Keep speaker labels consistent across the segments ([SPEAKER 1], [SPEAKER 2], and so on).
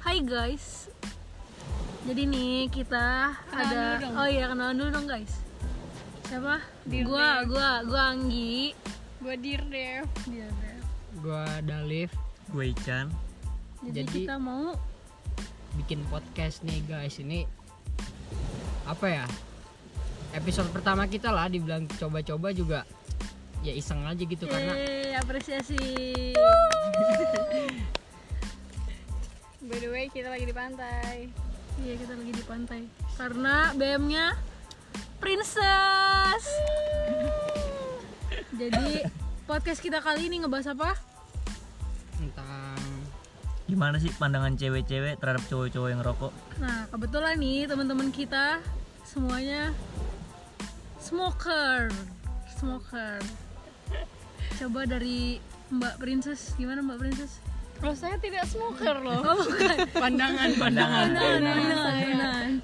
[SPEAKER 1] Hai guys. Jadi nih kita
[SPEAKER 2] Kenalan
[SPEAKER 1] ada
[SPEAKER 2] dulu dong.
[SPEAKER 1] Oh iya kenalan dulu dong guys. Siapa?
[SPEAKER 2] Dirdev.
[SPEAKER 1] Gua, gua, gua Anggi.
[SPEAKER 2] Gue Dirdev
[SPEAKER 3] Gua Dalif
[SPEAKER 4] gue Ican
[SPEAKER 1] Jadi,
[SPEAKER 3] Jadi-
[SPEAKER 1] kita mau
[SPEAKER 3] bikin podcast nih guys. Ini apa ya? Episode pertama kita lah dibilang coba-coba juga ya iseng aja gitu karena
[SPEAKER 1] eh apresiasi.
[SPEAKER 2] By the way kita lagi di pantai
[SPEAKER 1] Iya, kita lagi di pantai. Karena BM-nya Princess. Jadi podcast kita kali ini ngebahas apa?
[SPEAKER 3] tentang
[SPEAKER 4] gimana sih pandangan cewek-cewek terhadap cowok-cowok yang rokok
[SPEAKER 1] Nah, kebetulan nih teman-teman kita semuanya smoker. Smoker. Coba dari Mbak Princess, gimana Mbak Princess?
[SPEAKER 2] Kalau saya tidak smoker loh
[SPEAKER 1] Oh, bukan.
[SPEAKER 3] pandangan
[SPEAKER 4] pandangan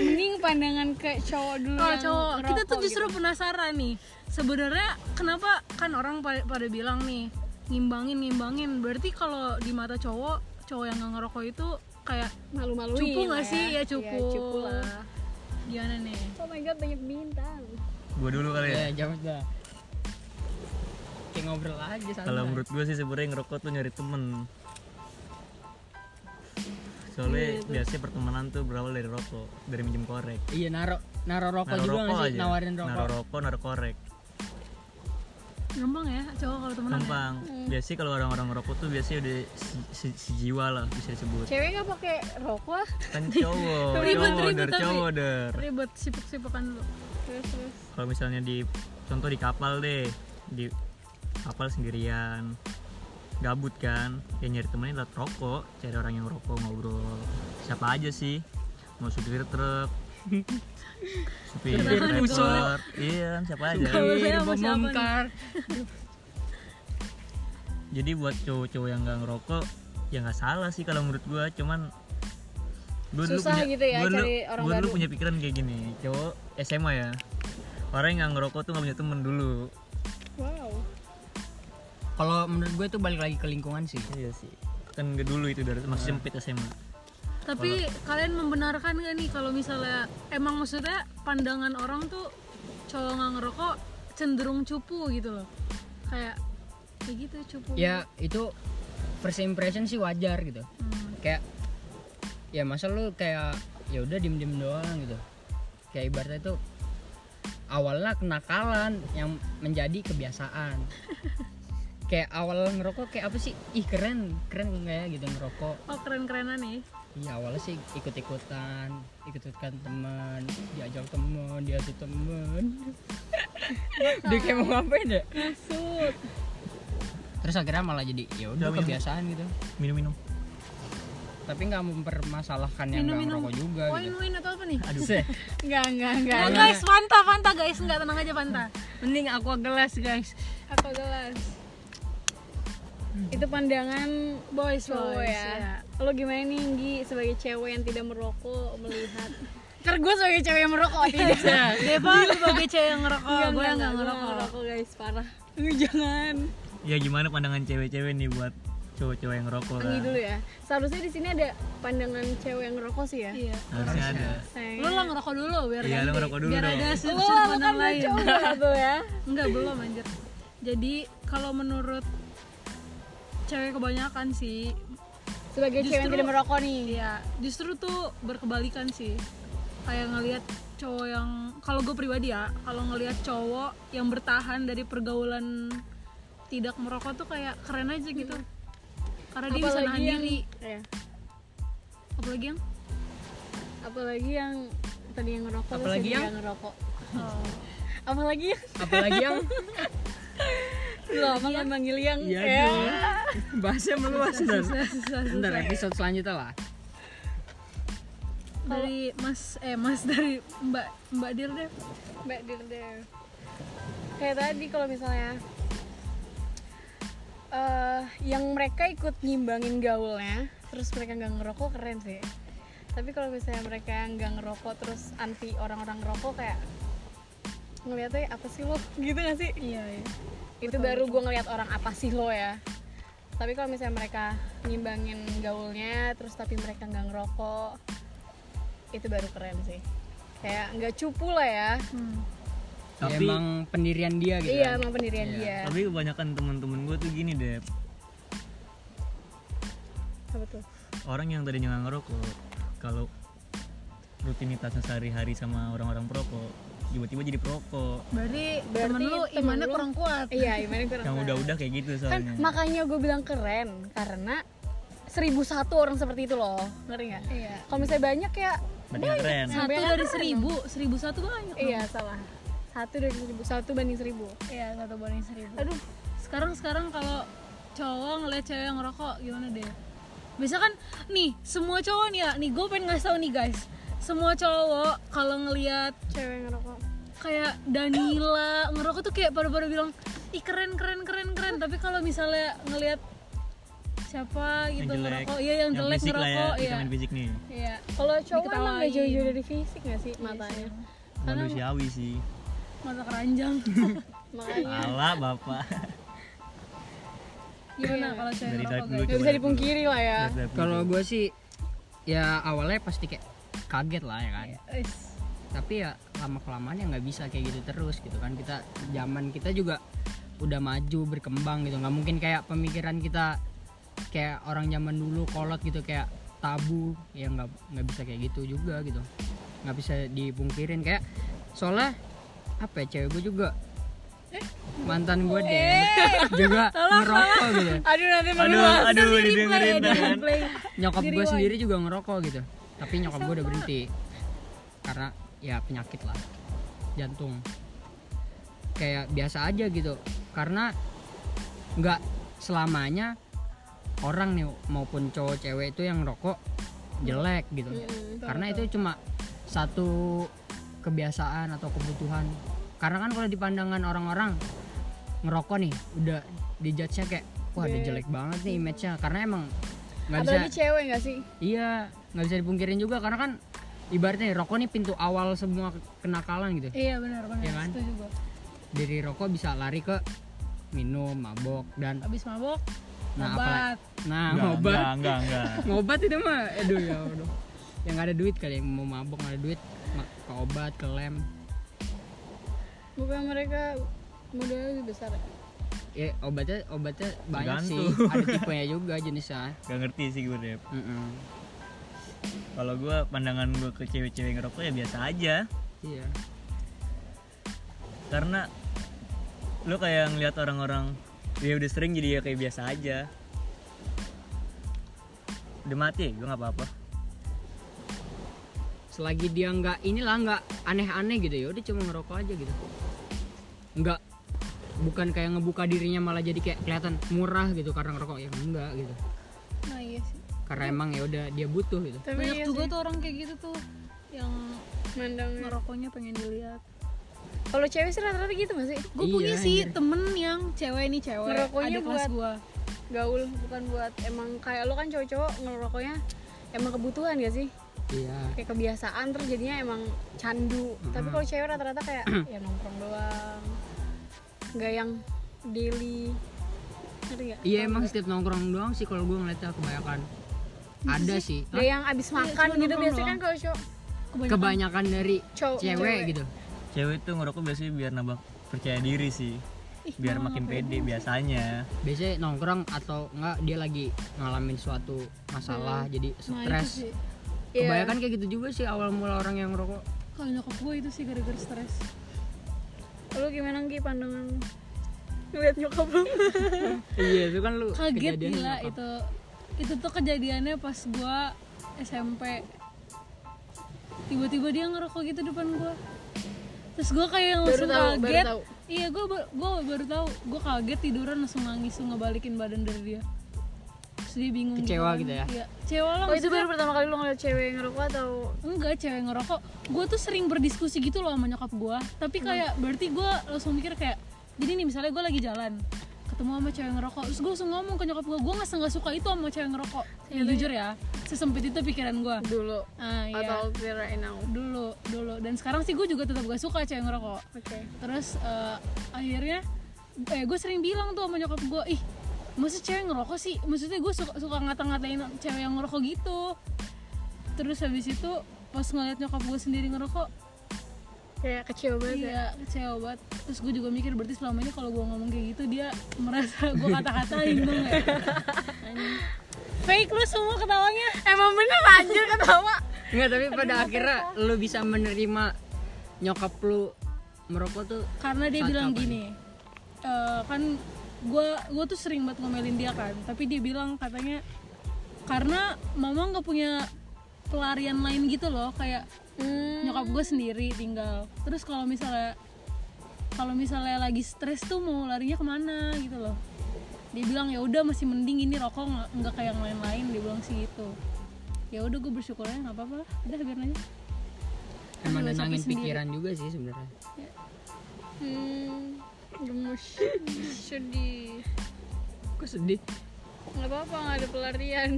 [SPEAKER 2] Mending pandangan ke cowok dulu
[SPEAKER 1] Oh,
[SPEAKER 2] yang
[SPEAKER 1] cowok. Kita
[SPEAKER 2] ngerokok
[SPEAKER 1] tuh justru
[SPEAKER 2] Iya, gitu.
[SPEAKER 1] penasaran nih. Sebenarnya kenapa kan orang pa- pada bilang nih ngimbangin ngimbangin. Berarti kalau di mata cowok, cowok yang nggak ngerokok itu kayak
[SPEAKER 2] malu-maluin
[SPEAKER 1] cupu
[SPEAKER 2] lah
[SPEAKER 1] nggak sih? Ya cupu.
[SPEAKER 2] Iya, cupu lah
[SPEAKER 1] Gimana nih?
[SPEAKER 2] Oh my god banyak bintang
[SPEAKER 4] gue dulu kali ya
[SPEAKER 3] Ya, jangan dah. Kayak ngobrol aja santai.
[SPEAKER 4] kalau menurut gue sih sebenarnya ngerokok tuh nyari temen soalnya biasanya pertemanan tuh berawal dari rokok dari minjem korek
[SPEAKER 3] Iya, naro naro rokok
[SPEAKER 4] Naruh
[SPEAKER 3] juga nggak sih nawarin rokok.
[SPEAKER 4] naruh rokok naruh korek
[SPEAKER 1] Gampang ya cowok kalau temenan. ya?
[SPEAKER 4] gampang
[SPEAKER 3] Hmm.
[SPEAKER 4] biasanya kalau orang-orang ngerokok tuh biasanya udah si- si- sejiwa lah bisa disebut
[SPEAKER 2] Cewek nggak pakai rokok lah
[SPEAKER 4] kan cowok
[SPEAKER 1] Ribet,
[SPEAKER 4] cowok
[SPEAKER 1] ribet
[SPEAKER 4] der
[SPEAKER 1] tapi.
[SPEAKER 4] cowok der
[SPEAKER 1] ribet sibuk-sibukan dulu
[SPEAKER 2] Terus terus
[SPEAKER 4] kalau misalnya di contoh di kapal deh di kapal sendirian gabut kan ya nyari temennya lewat rokok cari orang yang rokok ngobrol siapa aja sih mau supir truk supir
[SPEAKER 3] Supir
[SPEAKER 4] driver
[SPEAKER 3] busur.
[SPEAKER 4] iya siapa aja
[SPEAKER 1] Kalau saya
[SPEAKER 3] Iya,
[SPEAKER 1] sama siapa
[SPEAKER 3] pembongkar.
[SPEAKER 4] jadi buat cowok-cowok yang nggak ngerokok ya nggak salah sih kalau menurut gua cuman gua dulu
[SPEAKER 2] Susah gitu ya,
[SPEAKER 4] gua dulu-
[SPEAKER 2] cari orang
[SPEAKER 4] gua dulu
[SPEAKER 2] baru.
[SPEAKER 4] punya pikiran kayak gini cowok SMA ya orang yang nggak ngerokok tuh nggak punya temen dulu
[SPEAKER 2] Wow
[SPEAKER 3] Kalau menurut gue tuh balik lagi ke lingkungan sih.
[SPEAKER 4] iya sih kan nggak dulu itu dari masih sempit SMA
[SPEAKER 1] tapi kalian membenarkan gak nih kalau misalnya emang maksudnya pandangan orang tuh cowok nggak ngerokok cenderung cupu gitu loh kayak kayak gitu cupu
[SPEAKER 3] Ya, itu first impression sih wajar gitu.
[SPEAKER 1] Hmm.
[SPEAKER 3] Kayak ya masa lu kayak ya udah diem-diem doang gitu. Kayak ibaratnya tuh awalnya kenakalan yang menjadi kebiasaan. kayak awal ngerokok kayak apa sih? Ih keren, keren enggak ya gitu ngerokok.
[SPEAKER 1] oh keren kerenan nih
[SPEAKER 3] Iya awalnya sih ikut-ikutan, ikut-ikutan teman, diajak teman, diajak teman. Dia kayak mau ngapain ya?
[SPEAKER 2] Maksud
[SPEAKER 3] Terus akhirnya malah jadi ya udah
[SPEAKER 4] Jauh,
[SPEAKER 3] kebiasaan gitu.
[SPEAKER 4] minum-minum
[SPEAKER 3] Tapi nggak mempermasalahkan yang nggak
[SPEAKER 1] minum-minum
[SPEAKER 3] ngerokok juga
[SPEAKER 1] wine
[SPEAKER 3] gitu.
[SPEAKER 1] wine atau apa nih
[SPEAKER 3] Aduh.
[SPEAKER 2] Enggak enggak enggak
[SPEAKER 1] Nah, guys, fanta, fanta guys, enggak tenang aja fanta.
[SPEAKER 3] Mending aqua gelas guys.
[SPEAKER 2] Aku gelas itu pandangan
[SPEAKER 1] Boys,
[SPEAKER 2] cowok
[SPEAKER 1] boys,
[SPEAKER 2] ya. Lo gimana nih Nggi sebagai cewek yang tidak merokok melihat? Karena gue sebagai cewek yang merokok tidak.
[SPEAKER 1] ya. Deva sebagai cewek yang ngerokok,
[SPEAKER 2] Iya,
[SPEAKER 1] gue
[SPEAKER 2] enggak,
[SPEAKER 1] enggak
[SPEAKER 2] enggak, gua
[SPEAKER 1] ngerokok.
[SPEAKER 2] guys parah. Ih, Jangan.
[SPEAKER 4] ya gimana pandangan cewek-cewek nih buat cowok-cowok yang ngerokok
[SPEAKER 2] Anggi
[SPEAKER 4] kan
[SPEAKER 1] gitu.
[SPEAKER 2] dulu ya. Seharusnya di sini ada pandangan cewek yang merokok sih ya.
[SPEAKER 1] Iya.
[SPEAKER 4] kan? harusnya ada
[SPEAKER 2] Sayang.
[SPEAKER 1] Lu lah ngerokok dulu biar
[SPEAKER 4] Iya,
[SPEAKER 1] ganti.
[SPEAKER 4] lu ngerokok dulu
[SPEAKER 1] biar
[SPEAKER 4] dong.
[SPEAKER 1] ada
[SPEAKER 2] Lu
[SPEAKER 1] sudut
[SPEAKER 2] lah, lu kan
[SPEAKER 1] pandang
[SPEAKER 2] lu
[SPEAKER 1] lain.
[SPEAKER 2] coba tuh ya.
[SPEAKER 1] Enggak belum anjir. Jadi kalau menurut cewek kebanyakan sih,
[SPEAKER 2] Sebagai cewek yang
[SPEAKER 1] Justru-
[SPEAKER 2] tidak merokok nih.
[SPEAKER 1] ya justru tuh berkebalikan sih. Kayak ngelihat cowok yang kalau gue pribadi ya, kalau ngelihat cowok yang bertahan dari pergaulan tidak merokok tuh kayak keren aja gitu. Karena dia bisa nahan
[SPEAKER 2] Hmm. yang
[SPEAKER 1] diri.
[SPEAKER 2] Iya.
[SPEAKER 1] Apalagi yang
[SPEAKER 2] apalagi yang tadi yang ngerokok terus
[SPEAKER 3] Apalagi
[SPEAKER 2] jadi
[SPEAKER 3] yang- Oh.
[SPEAKER 2] nggak ngerokok. Apalagi yang
[SPEAKER 3] Apalagi yang
[SPEAKER 2] lo makan manggil yang
[SPEAKER 3] Iya,
[SPEAKER 2] ya.
[SPEAKER 3] aduh. bahasnya meluas dan
[SPEAKER 1] susah, susah.
[SPEAKER 3] Bentar episode selanjutnya lah.
[SPEAKER 1] dari Mas eh Mas dari Mbak Mbak Dir deh.
[SPEAKER 2] Mbak Dirde. Kayak tadi kalau misalnya eh yang mereka ikut ngimbangin gaulnya, terus mereka nggak ngerokok keren sih. Tapi kalau misalnya mereka yang nggak ngerokok terus anti orang-orang ngerokok kayak ngeliatnya apa sih lo gitu gak sih?
[SPEAKER 1] Iya, iya.
[SPEAKER 2] Itu baru gue ngeliat orang apa sih lo ya. tapi kalau misalnya mereka ngimbangin gaulnya terus tapi mereka nggak ngerokok itu baru keren sih kayak nggak cupu lah ya
[SPEAKER 1] Hmm.
[SPEAKER 3] Ya,
[SPEAKER 4] Tapi-
[SPEAKER 3] emang pendirian dia gitu
[SPEAKER 2] iya
[SPEAKER 3] kan.
[SPEAKER 2] emang pendirian
[SPEAKER 3] Iya.
[SPEAKER 2] dia
[SPEAKER 4] Tapi kebanyakan temen-temen gue tuh gini deh,
[SPEAKER 2] apa tuh
[SPEAKER 4] orang yang tadinya nggak ngerokok, kalau rutinitasnya sehari-hari sama orang-orang perokok, tiba-tiba jadi perokok.
[SPEAKER 1] Berarti,
[SPEAKER 2] Berarti
[SPEAKER 1] temen lu
[SPEAKER 2] temen
[SPEAKER 1] imannya
[SPEAKER 2] lu-
[SPEAKER 1] kurang kuat.
[SPEAKER 2] iya gimana kurang
[SPEAKER 4] Yang
[SPEAKER 2] tahu.
[SPEAKER 4] udah-udah kayak gitu
[SPEAKER 2] kan
[SPEAKER 4] soalnya.
[SPEAKER 2] makanya gue bilang keren karena 1001 orang seperti itu loh ngerti nggak
[SPEAKER 1] Iya.
[SPEAKER 2] kalau misalnya banyak ya
[SPEAKER 4] Berarti nggak keren.
[SPEAKER 1] Satu
[SPEAKER 2] Sampai
[SPEAKER 1] dari
[SPEAKER 2] kan?
[SPEAKER 1] seribu, seribu satu banyak.
[SPEAKER 2] iya salah satu dari seribu satu banding seribu
[SPEAKER 1] Iya, satu banding seribu.
[SPEAKER 2] aduh
[SPEAKER 1] Sekarang sekarang kalau cowok ngeliat cewek yang ngerokok gimana deh? Biasa kan nih semua cowok nih ya, nih gue pengen ngasih tau nih guys, semua cowok kalau ngeliat
[SPEAKER 2] cewek ngerokok
[SPEAKER 1] kayak Danila ngerokok tuh kayak pada-pada bilang ih keren keren keren keren tapi kalau misalnya ngelihat siapa gitu ngerokok iya yang jelek
[SPEAKER 4] fisik lah ya,
[SPEAKER 1] ngerokok
[SPEAKER 4] kita
[SPEAKER 1] iya
[SPEAKER 4] main fisik nih.
[SPEAKER 1] iya
[SPEAKER 2] kalau cowok emang
[SPEAKER 1] Diketawain.
[SPEAKER 2] gak jauh-jauh dari fisik gak Iya, sih matanya
[SPEAKER 4] Manusiawi sih.
[SPEAKER 1] mata keranjang Iya.
[SPEAKER 2] makanya
[SPEAKER 4] Ala bapak.
[SPEAKER 1] gimana kalau cewek
[SPEAKER 4] Iya, Dari
[SPEAKER 1] ngerokok gitu?
[SPEAKER 4] type dulu.
[SPEAKER 1] guys
[SPEAKER 2] nggak bisa dipungkiri lah
[SPEAKER 1] Iya.
[SPEAKER 2] ya
[SPEAKER 4] Lihat-lihat dulu.
[SPEAKER 3] Kalau gue sih ya awalnya pasti kayak kaget lah ya kan.
[SPEAKER 1] Is.
[SPEAKER 3] Tapi ya lama kelamaan ya nggak bisa kayak gitu terus gitu kan. Kita zaman kita juga udah maju berkembang gitu. Nggak mungkin kayak pemikiran kita kayak orang zaman dulu kolot gitu kayak tabu ya nggak nggak bisa kayak gitu juga gitu. Nggak bisa dipungkirin kayak soalnya apa ya cewek gue juga mantan gue deh juga ngerokok gitu
[SPEAKER 2] aduh nanti
[SPEAKER 4] Aduh, aduh, didengerin dan
[SPEAKER 1] Play.
[SPEAKER 3] nyokap gue sendiri juga ngerokok gitu tapi nyokap gue udah berhenti karena ya penyakit lah jantung kayak biasa aja gitu karena nggak selamanya orang nih maupun cowok cewek itu yang ngerokok jelek gitu karena itu cuma satu kebiasaan atau kebutuhan karena kan kalau di pandangan orang-orang ngerokok nih udah dijudge-nya kayak wah udah jelek banget nih image-nya karena emang nggak bisa
[SPEAKER 2] apalagi cewek gak sih
[SPEAKER 3] Iya, nggak bisa dipungkirin juga karena kan ibaratnya nih, rokok nih pintu awal semua ke- kenakalan gitu.
[SPEAKER 1] iya benar benar
[SPEAKER 3] Iya kan?
[SPEAKER 1] setuju gue
[SPEAKER 3] Dari rokok bisa lari ke minum, mabok dan
[SPEAKER 1] abis mabok
[SPEAKER 3] Nah,
[SPEAKER 1] obat
[SPEAKER 3] nah
[SPEAKER 4] Enggak,
[SPEAKER 3] ngobat.
[SPEAKER 4] enggak, enggak, enggak.
[SPEAKER 3] Ngobat itu mah aduh ya Allah. Yang nggak ada duit kali yang mau mabok nggak ada duit ma- ke obat, ke lem.
[SPEAKER 2] bukan mereka modalnya lebih besar ya?
[SPEAKER 3] Ya, obatnya obatnya banyak sih.
[SPEAKER 4] Tergantung.
[SPEAKER 3] Ada tipenya juga jenisnya.
[SPEAKER 4] Gak ngerti sih gue deh.
[SPEAKER 3] Mm-mm.
[SPEAKER 4] Kalau gue pandangan gue ke cewek-cewek ngerokok ya biasa aja.
[SPEAKER 3] Iya.
[SPEAKER 4] Karena lu kayak ngeliat orang-orang ya udah sering jadi ya kayak biasa aja. Udah mati, gue nggak apa-apa.
[SPEAKER 3] selagi dia nggak inilah nggak aneh-aneh gitu ya udah cuma ngerokok aja gitu nggak bukan kayak ngebuka dirinya malah jadi kayak kelihatan murah gitu karena ngerokok ya enggak gitu
[SPEAKER 1] nah iya sih
[SPEAKER 3] karena emang ya udah dia butuh gitu
[SPEAKER 2] tapi
[SPEAKER 1] banyak
[SPEAKER 2] iya
[SPEAKER 1] juga
[SPEAKER 2] sih,
[SPEAKER 1] tuh orang kayak gitu tuh yang Iya.
[SPEAKER 2] mandangnya
[SPEAKER 1] ngerokoknya pengen dilihat
[SPEAKER 2] kalau cewek sih rata-rata gitu gak sih
[SPEAKER 1] gue
[SPEAKER 3] Iya,
[SPEAKER 1] punya sih temen yang cewek nih cewek
[SPEAKER 2] Ngerokoknya
[SPEAKER 1] adik kelas Nah,
[SPEAKER 2] buat-
[SPEAKER 1] gue
[SPEAKER 2] gaul bukan buat emang kayak lo kan cowok-cowok ngerokoknya emang kebutuhan gak sih
[SPEAKER 3] iya
[SPEAKER 2] kayak kebiasaan terus jadinya emang candu tapi kalau cewek rata-rata kayak ya nongkrong doang nggak yang daily ngerti gak?
[SPEAKER 3] iya emang setiap nongkrong doang sih kalau gue ngeliatnya kebanyakan ada sih
[SPEAKER 2] nggak yang abis makan
[SPEAKER 1] cuma
[SPEAKER 2] gitu
[SPEAKER 1] nongkrong
[SPEAKER 2] biasanya kan
[SPEAKER 1] doang.
[SPEAKER 2] kalau cowok
[SPEAKER 1] kebanyakan
[SPEAKER 3] kebanyakan dari
[SPEAKER 2] Cowok-
[SPEAKER 3] cewek
[SPEAKER 2] cewek.
[SPEAKER 3] gitu
[SPEAKER 4] Cewek tuh ngerokok biasanya biar nambah percaya diri sih. Biar makin pede biasanya.
[SPEAKER 3] biasanya nongkrong atau enggak dia lagi ngalamin suatu masalah jadi stres
[SPEAKER 1] sih.
[SPEAKER 2] Iya.
[SPEAKER 3] kebanyakan kayak gitu juga sih awal mula orang yang ngerokok
[SPEAKER 1] kalau nyokap gue itu sih gara-gara stres
[SPEAKER 2] lu gimana Ki pandangan ngeliat nyokap lu
[SPEAKER 3] iya itu kan lu
[SPEAKER 1] kaget
[SPEAKER 3] kejadian
[SPEAKER 1] gila
[SPEAKER 3] nyokap.
[SPEAKER 1] itu itu tuh kejadiannya pas gue SMP tiba-tiba dia ngerokok gitu depan gue terus gue kayak langsung
[SPEAKER 2] tahu, baru
[SPEAKER 1] kaget
[SPEAKER 2] tahu.
[SPEAKER 1] iya gue gue baru tahu gue kaget tiduran langsung nangis tuh ngebalikin badan dari dia terus dia bingung
[SPEAKER 3] Kecewa
[SPEAKER 1] kan.
[SPEAKER 3] gitu ya?
[SPEAKER 1] iya kecewa lah
[SPEAKER 2] oh itu
[SPEAKER 1] maksudnya-
[SPEAKER 2] baru pertama kali lu ngeliat cewek ngerokok atau
[SPEAKER 1] enggak cewek ngerokok gue tuh sering berdiskusi gitu loh sama nyokap gue tapi
[SPEAKER 2] Hmm.
[SPEAKER 1] kayak berarti gue langsung mikir kayak jadi nih misalnya gue lagi jalan ketemu sama cewek ngerokok terus gue langsung ngomong ke nyokap gue gue nggak nggak suka itu sama cewek ngerokok
[SPEAKER 2] Iya,
[SPEAKER 1] ya, jujur ya sesempit itu pikiran gue
[SPEAKER 2] dulu
[SPEAKER 1] ah iya
[SPEAKER 2] atau clear right now oke
[SPEAKER 1] dulu dulu dan sekarang sih gue juga tetap gak suka cewek ngerokok terus eh, akhirnya eh gue sering bilang tuh sama nyokap gue ih masa cewek ngerokok sih maksudnya gue suka, suka ngata-ngatain cewek yang ngerokok gitu terus habis itu pas ngeliat nyokap gue sendiri ngerokok
[SPEAKER 2] kayak kecewa banget ya.
[SPEAKER 1] iya kecewa banget terus gue juga mikir berarti selama ini kalau gue ngomong kayak gitu dia merasa gue kata-katain dong ya Anjing. fake lu semua ketawanya
[SPEAKER 2] emang bener anjir ketawa
[SPEAKER 3] Enggak, tapi pada akhirnya lu bisa menerima nyokap lu merokok tuh
[SPEAKER 1] karena dia
[SPEAKER 3] Saat
[SPEAKER 1] bilang
[SPEAKER 3] kapan?
[SPEAKER 1] gini "Eh, kan gue gue tuh sering banget ngomelin dia kan tapi dia bilang katanya karena mama nggak punya pelarian lain gitu loh kayak
[SPEAKER 2] Hmm.
[SPEAKER 1] nyokap gue sendiri tinggal terus kalau misalnya kalau misalnya lagi stres tuh mau larinya kemana gitu loh dia bilang ya udah masih mending ini rokok nggak nggak kayak yang lain-lain dia bilang sih gitu ya udah gue bersyukurnya nggak apa-apa lah udah biar aja
[SPEAKER 3] emang
[SPEAKER 1] Lu
[SPEAKER 3] nenangin
[SPEAKER 1] sampai sendiri.
[SPEAKER 3] pikiran juga sih sebenarnya.
[SPEAKER 2] Hmm, gemes sedih
[SPEAKER 3] Kok sedih?
[SPEAKER 2] nggak apa-apa nggak ada pelarian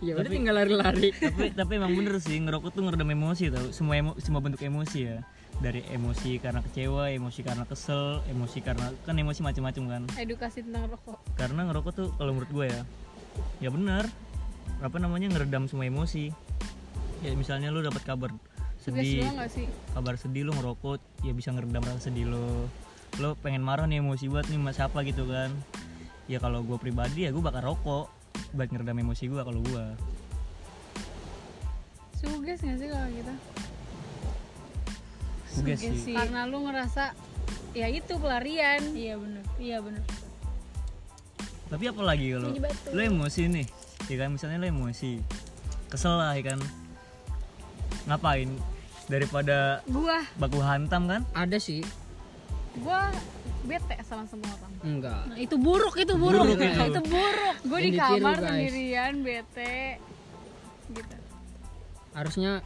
[SPEAKER 3] Ya udah tinggal lari-lari.
[SPEAKER 4] tapi tapi emang bener sih ngerokok tuh ngeredam emosi tau semua emo- semua bentuk emosi ya dari emosi karena kecewa emosi karena kesel emosi karena kan emosi macam-macam kan
[SPEAKER 2] edukasi tentang rokok
[SPEAKER 4] karena ngerokok tuh kalau menurut gue ya ya bener apa namanya ngeredam semua emosi ya misalnya lu dapat kabar
[SPEAKER 2] tugas
[SPEAKER 4] sedih
[SPEAKER 2] doang nggak sih
[SPEAKER 4] kabar sedih lu ngerokok ya bisa ngeredam rasa sedih lo lo pengen marah nih emosi buat nih sama siapa gitu kan ya kalau gue pribadi ya gue bakal rokok buat ngeredam emosi gue kalau gue
[SPEAKER 2] suges nggak sih kalau gitu
[SPEAKER 4] gue
[SPEAKER 1] Iya
[SPEAKER 4] sih
[SPEAKER 1] sih
[SPEAKER 2] karena lu ngerasa ya itu pelarian
[SPEAKER 1] iya bener iya bener
[SPEAKER 4] tapi apalagi kalau lo emosi nih ya kan misalnya lo emosi kesel lah ya kan ngapain daripada
[SPEAKER 2] gua
[SPEAKER 4] baku hantam kan
[SPEAKER 3] Ada sih.
[SPEAKER 2] gua bete sama semua orang
[SPEAKER 3] Enggak.
[SPEAKER 1] nah itu buruk itu buruk,
[SPEAKER 4] Buruk itu.
[SPEAKER 1] itu buruk
[SPEAKER 2] gua
[SPEAKER 3] Ini
[SPEAKER 2] di
[SPEAKER 3] ditiru,
[SPEAKER 2] kamar
[SPEAKER 3] guys.
[SPEAKER 2] sendirian bete gitu
[SPEAKER 3] Harusnya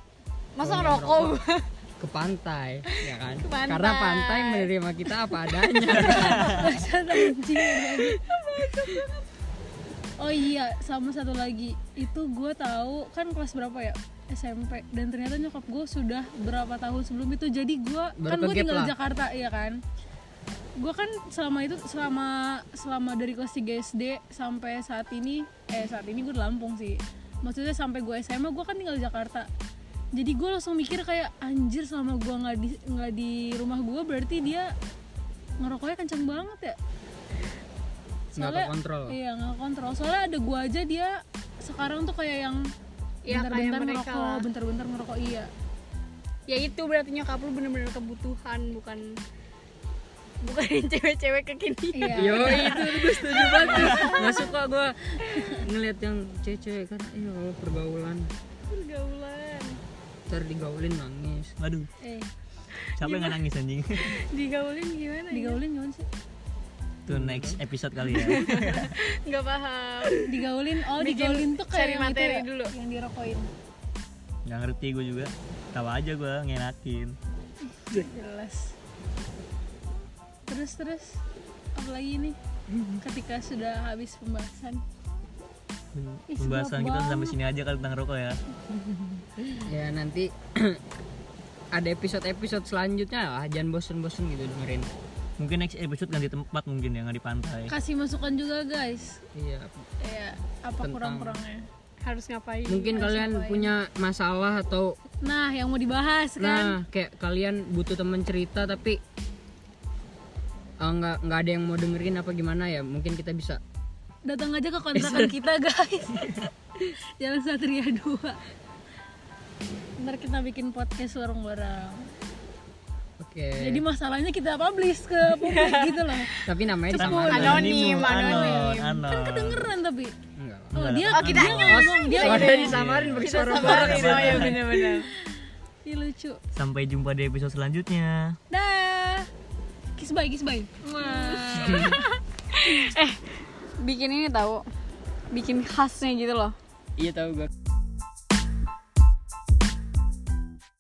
[SPEAKER 2] masa
[SPEAKER 3] Kalau
[SPEAKER 2] ngerokok
[SPEAKER 3] Oh, iya, ngerokok.
[SPEAKER 2] gua
[SPEAKER 3] ke pantai, ya kan?
[SPEAKER 2] Ke pantai.
[SPEAKER 3] Karena pantai menerima kita apa adanya.
[SPEAKER 1] Oh iya, sama satu lagi itu gue tahu kan kelas berapa ya SMP dan ternyata nyokap gue sudah berapa tahun sebelum itu jadi gue kan gue
[SPEAKER 3] Berkegap
[SPEAKER 1] tinggal di
[SPEAKER 3] lah.
[SPEAKER 1] Jakarta ya kan gue kan selama itu selama selama dari kelas 3 SD sampai saat ini eh saat ini gue di Lampung sih maksudnya sampai gue SMA gue kan tinggal di Jakarta jadi gue langsung mikir kayak anjir selama gue nggak di nggak di rumah gue berarti dia ngerokoknya kenceng banget ya
[SPEAKER 3] Nggak
[SPEAKER 1] Soalnya-
[SPEAKER 3] terkontrol.
[SPEAKER 1] Iya nggak kontrol. Soalnya ada gua aja dia sekarang tuh kayak yang
[SPEAKER 2] Ya,
[SPEAKER 1] bentar-bentar
[SPEAKER 2] kayak mereka
[SPEAKER 1] ngerokok,
[SPEAKER 2] lah.
[SPEAKER 1] bentar-bentar ngerokok iya.
[SPEAKER 2] ya itu berarti nyokap lu bener-bener kebutuhan bukan bukan yang cewek-cewek kekinian
[SPEAKER 1] Iya.
[SPEAKER 3] Yo itu gue setuju banget. tuh. Nggak suka gue ngeliat yang cewek-cewek kan, ya Allah, pergaulan.
[SPEAKER 2] pergaulan
[SPEAKER 3] Ntar digaulin nangis.
[SPEAKER 4] aduh
[SPEAKER 1] Eh,
[SPEAKER 4] siapa yang nggak nangis anjing
[SPEAKER 2] digaulin gimana ya?
[SPEAKER 1] digaulin gimana sih?
[SPEAKER 4] tuh next episode kali ya
[SPEAKER 2] nggak paham
[SPEAKER 1] Digaulin, oh
[SPEAKER 2] Bikin
[SPEAKER 1] digaulin tuh kayak
[SPEAKER 2] cari
[SPEAKER 1] yang itu
[SPEAKER 2] materi
[SPEAKER 1] ya,
[SPEAKER 2] dulu.
[SPEAKER 1] yang dirokokin.
[SPEAKER 4] nggak ngerti gue juga tahu aja gue ngenakin
[SPEAKER 1] Jelas. Terus terus apalagi ini ketika sudah habis pembahasan Ih,
[SPEAKER 4] pembahasan
[SPEAKER 1] sedap
[SPEAKER 4] kita sampai
[SPEAKER 1] banget.
[SPEAKER 4] sini aja kali tentang rokok ya
[SPEAKER 3] Ya nanti ada episode-episode selanjutnya lah, jangan bosen-bosen gitu dengerin.
[SPEAKER 4] mungkin next episode ganti tempat mungkin ya nggak di pantai
[SPEAKER 1] kasih masukan juga guys
[SPEAKER 3] Iya.
[SPEAKER 1] ya apa
[SPEAKER 3] Tentang-
[SPEAKER 1] kurang-kurangnya
[SPEAKER 2] harus ngapain
[SPEAKER 3] Mungkin kalian punya masalah atau
[SPEAKER 1] nah yang mau dibahas kan
[SPEAKER 3] nah kayak kalian butuh temen cerita tapi eh, nggak nggak ada yang mau dengerin apa gimana ya mungkin kita bisa
[SPEAKER 1] datang aja ke kontrakan kita guys Jalan Satria 2 ntar kita bikin podcast bareng-bareng
[SPEAKER 3] oke
[SPEAKER 1] jadi masalahnya kita publish ke publik gitu loh
[SPEAKER 3] tapi namanya
[SPEAKER 4] Tapi
[SPEAKER 3] sama
[SPEAKER 2] Anonim,
[SPEAKER 4] anonim,
[SPEAKER 1] kan
[SPEAKER 4] anonim.
[SPEAKER 1] kedengeran tapi
[SPEAKER 3] enggak lah.
[SPEAKER 1] oh
[SPEAKER 4] Enggak,
[SPEAKER 1] dia
[SPEAKER 4] oh,
[SPEAKER 1] dia ngomong dia
[SPEAKER 3] Suaranya disamarin pakai suara orang
[SPEAKER 2] ya bener-bener
[SPEAKER 1] Ih, lucu
[SPEAKER 4] sampai jumpa di episode selanjutnya
[SPEAKER 1] dah kiss bye kiss bye Mwah.
[SPEAKER 2] bikin ini tahu bikin khasnya gitu loh
[SPEAKER 3] iya tahu gue